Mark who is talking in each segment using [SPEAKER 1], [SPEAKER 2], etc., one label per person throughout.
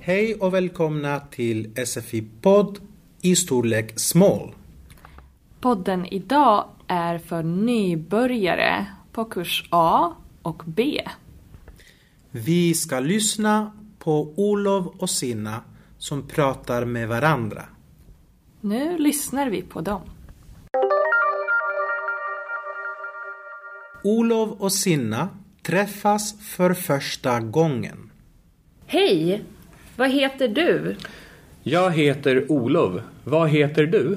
[SPEAKER 1] Hej och välkomna till SFI-podd i storlek small.
[SPEAKER 2] Podden idag är för nybörjare på kurs A och B.
[SPEAKER 1] Vi ska lyssna på Olof och Sina som pratar med varandra.
[SPEAKER 2] Nu lyssnar vi på dem.
[SPEAKER 1] Olof och Sina träffas för första gången.
[SPEAKER 3] Hej! Vad heter du?
[SPEAKER 4] Jag heter Olof. Vad heter du?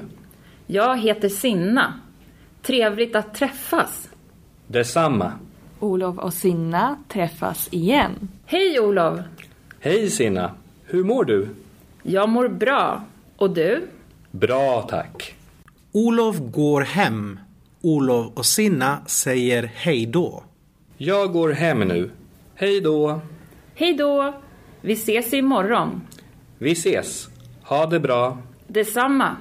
[SPEAKER 3] Jag heter Sinna. Trevligt att träffas.
[SPEAKER 4] Detsamma.
[SPEAKER 2] Olof och Sinna träffas igen.
[SPEAKER 3] Hej Olof!
[SPEAKER 4] Hej Sina. Hur mår du?
[SPEAKER 3] Jag mår bra. Och du?
[SPEAKER 4] Bra tack.
[SPEAKER 1] Olof går hem. Olof och Sina säger hej då.
[SPEAKER 4] Jag går hem nu. Hej då.
[SPEAKER 3] Hej då! Vi ses imorgon.
[SPEAKER 4] Vi ses. Ha det bra.
[SPEAKER 3] Detsamma.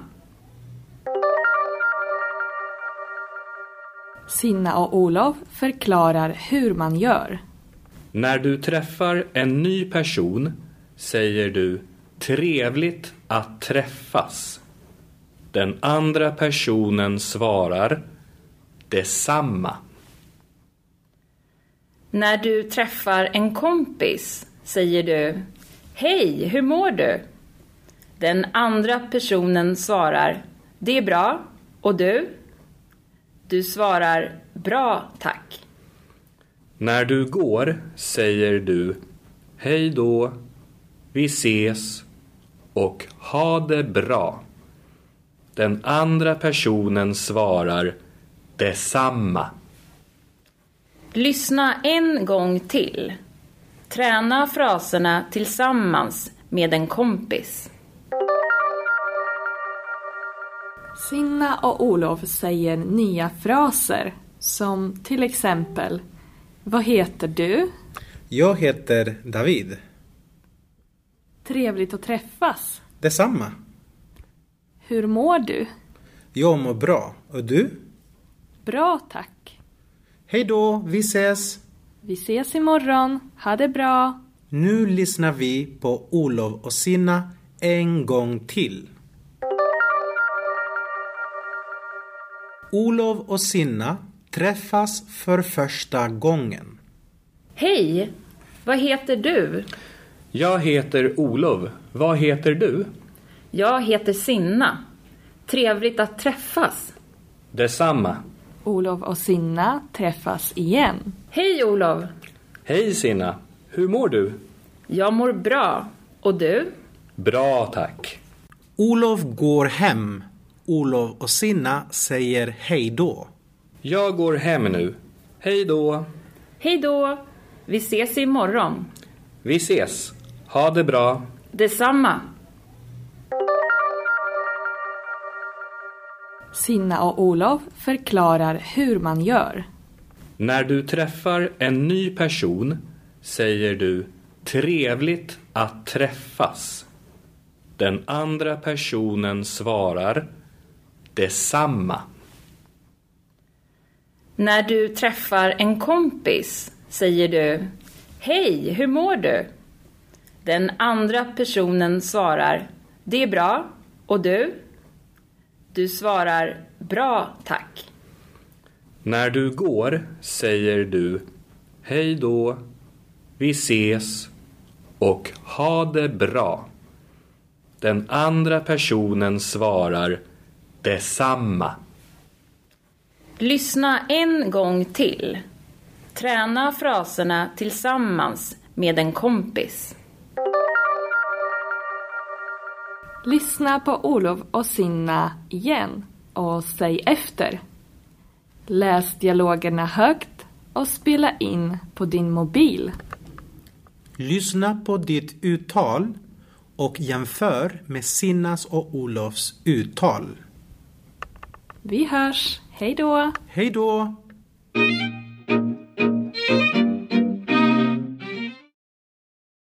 [SPEAKER 2] Sinna och Olof förklarar hur man gör.
[SPEAKER 4] När du träffar en ny person säger du trevligt att träffas. Den andra personen svarar detsamma.
[SPEAKER 3] När du träffar en kompis säger du Hej, hur mår du? Den andra personen svarar Det är bra. Och du? Du svarar Bra, tack.
[SPEAKER 4] När du går säger du hej då, vi ses och ha det bra. Den andra personen svarar detsamma.
[SPEAKER 3] Lyssna en gång till. Träna fraserna tillsammans med en kompis.
[SPEAKER 2] Sinna och Olof säger nya fraser som till exempel Vad heter du?
[SPEAKER 1] Jag heter David.
[SPEAKER 2] Trevligt att träffas.
[SPEAKER 1] Detsamma.
[SPEAKER 2] Hur mår du?
[SPEAKER 1] Jag mår bra. Och du?
[SPEAKER 2] Bra tack.
[SPEAKER 1] Hej då, vi ses.
[SPEAKER 2] Vi ses imorgon. Ha det bra.
[SPEAKER 1] Nu lyssnar vi på Olof och Sina en gång till. Olof och Sina träffas för första gången.
[SPEAKER 3] Hej! Vad heter du?
[SPEAKER 4] Jag heter Olof. Vad heter du?
[SPEAKER 3] Jag heter Sinna. Trevligt att träffas.
[SPEAKER 4] Detsamma.
[SPEAKER 2] Olof och Sinna träffas igen.
[SPEAKER 3] Hej Olof!
[SPEAKER 4] Hej Sina. Hur mår du?
[SPEAKER 3] Jag mår bra. Och du?
[SPEAKER 4] Bra tack.
[SPEAKER 1] Olof går hem. Olof och Sina säger hej då.
[SPEAKER 4] Jag går hem nu. Hej då.
[SPEAKER 3] Hej då! Vi ses imorgon.
[SPEAKER 4] Vi ses. Ha det bra.
[SPEAKER 3] Detsamma.
[SPEAKER 2] Sinna och Olof förklarar hur man gör.
[SPEAKER 4] När du träffar en ny person säger du trevligt att träffas. Den andra personen svarar detsamma.
[SPEAKER 3] När du träffar en kompis säger du Hej, hur mår du? Den andra personen svarar Det är bra. Och du? Du svarar Bra, tack.
[SPEAKER 4] När du går säger du hej då, vi ses och ha det bra. Den andra personen svarar detsamma.
[SPEAKER 3] Lyssna en gång till. Träna fraserna tillsammans med en kompis.
[SPEAKER 2] Lyssna på Olof och Sinna igen och säg efter. Läs dialogerna högt och spela in på din mobil.
[SPEAKER 1] Lyssna på ditt uttal och jämför med Sinas och Olofs uttal.
[SPEAKER 2] Vi hörs, hej då!
[SPEAKER 1] Hej då!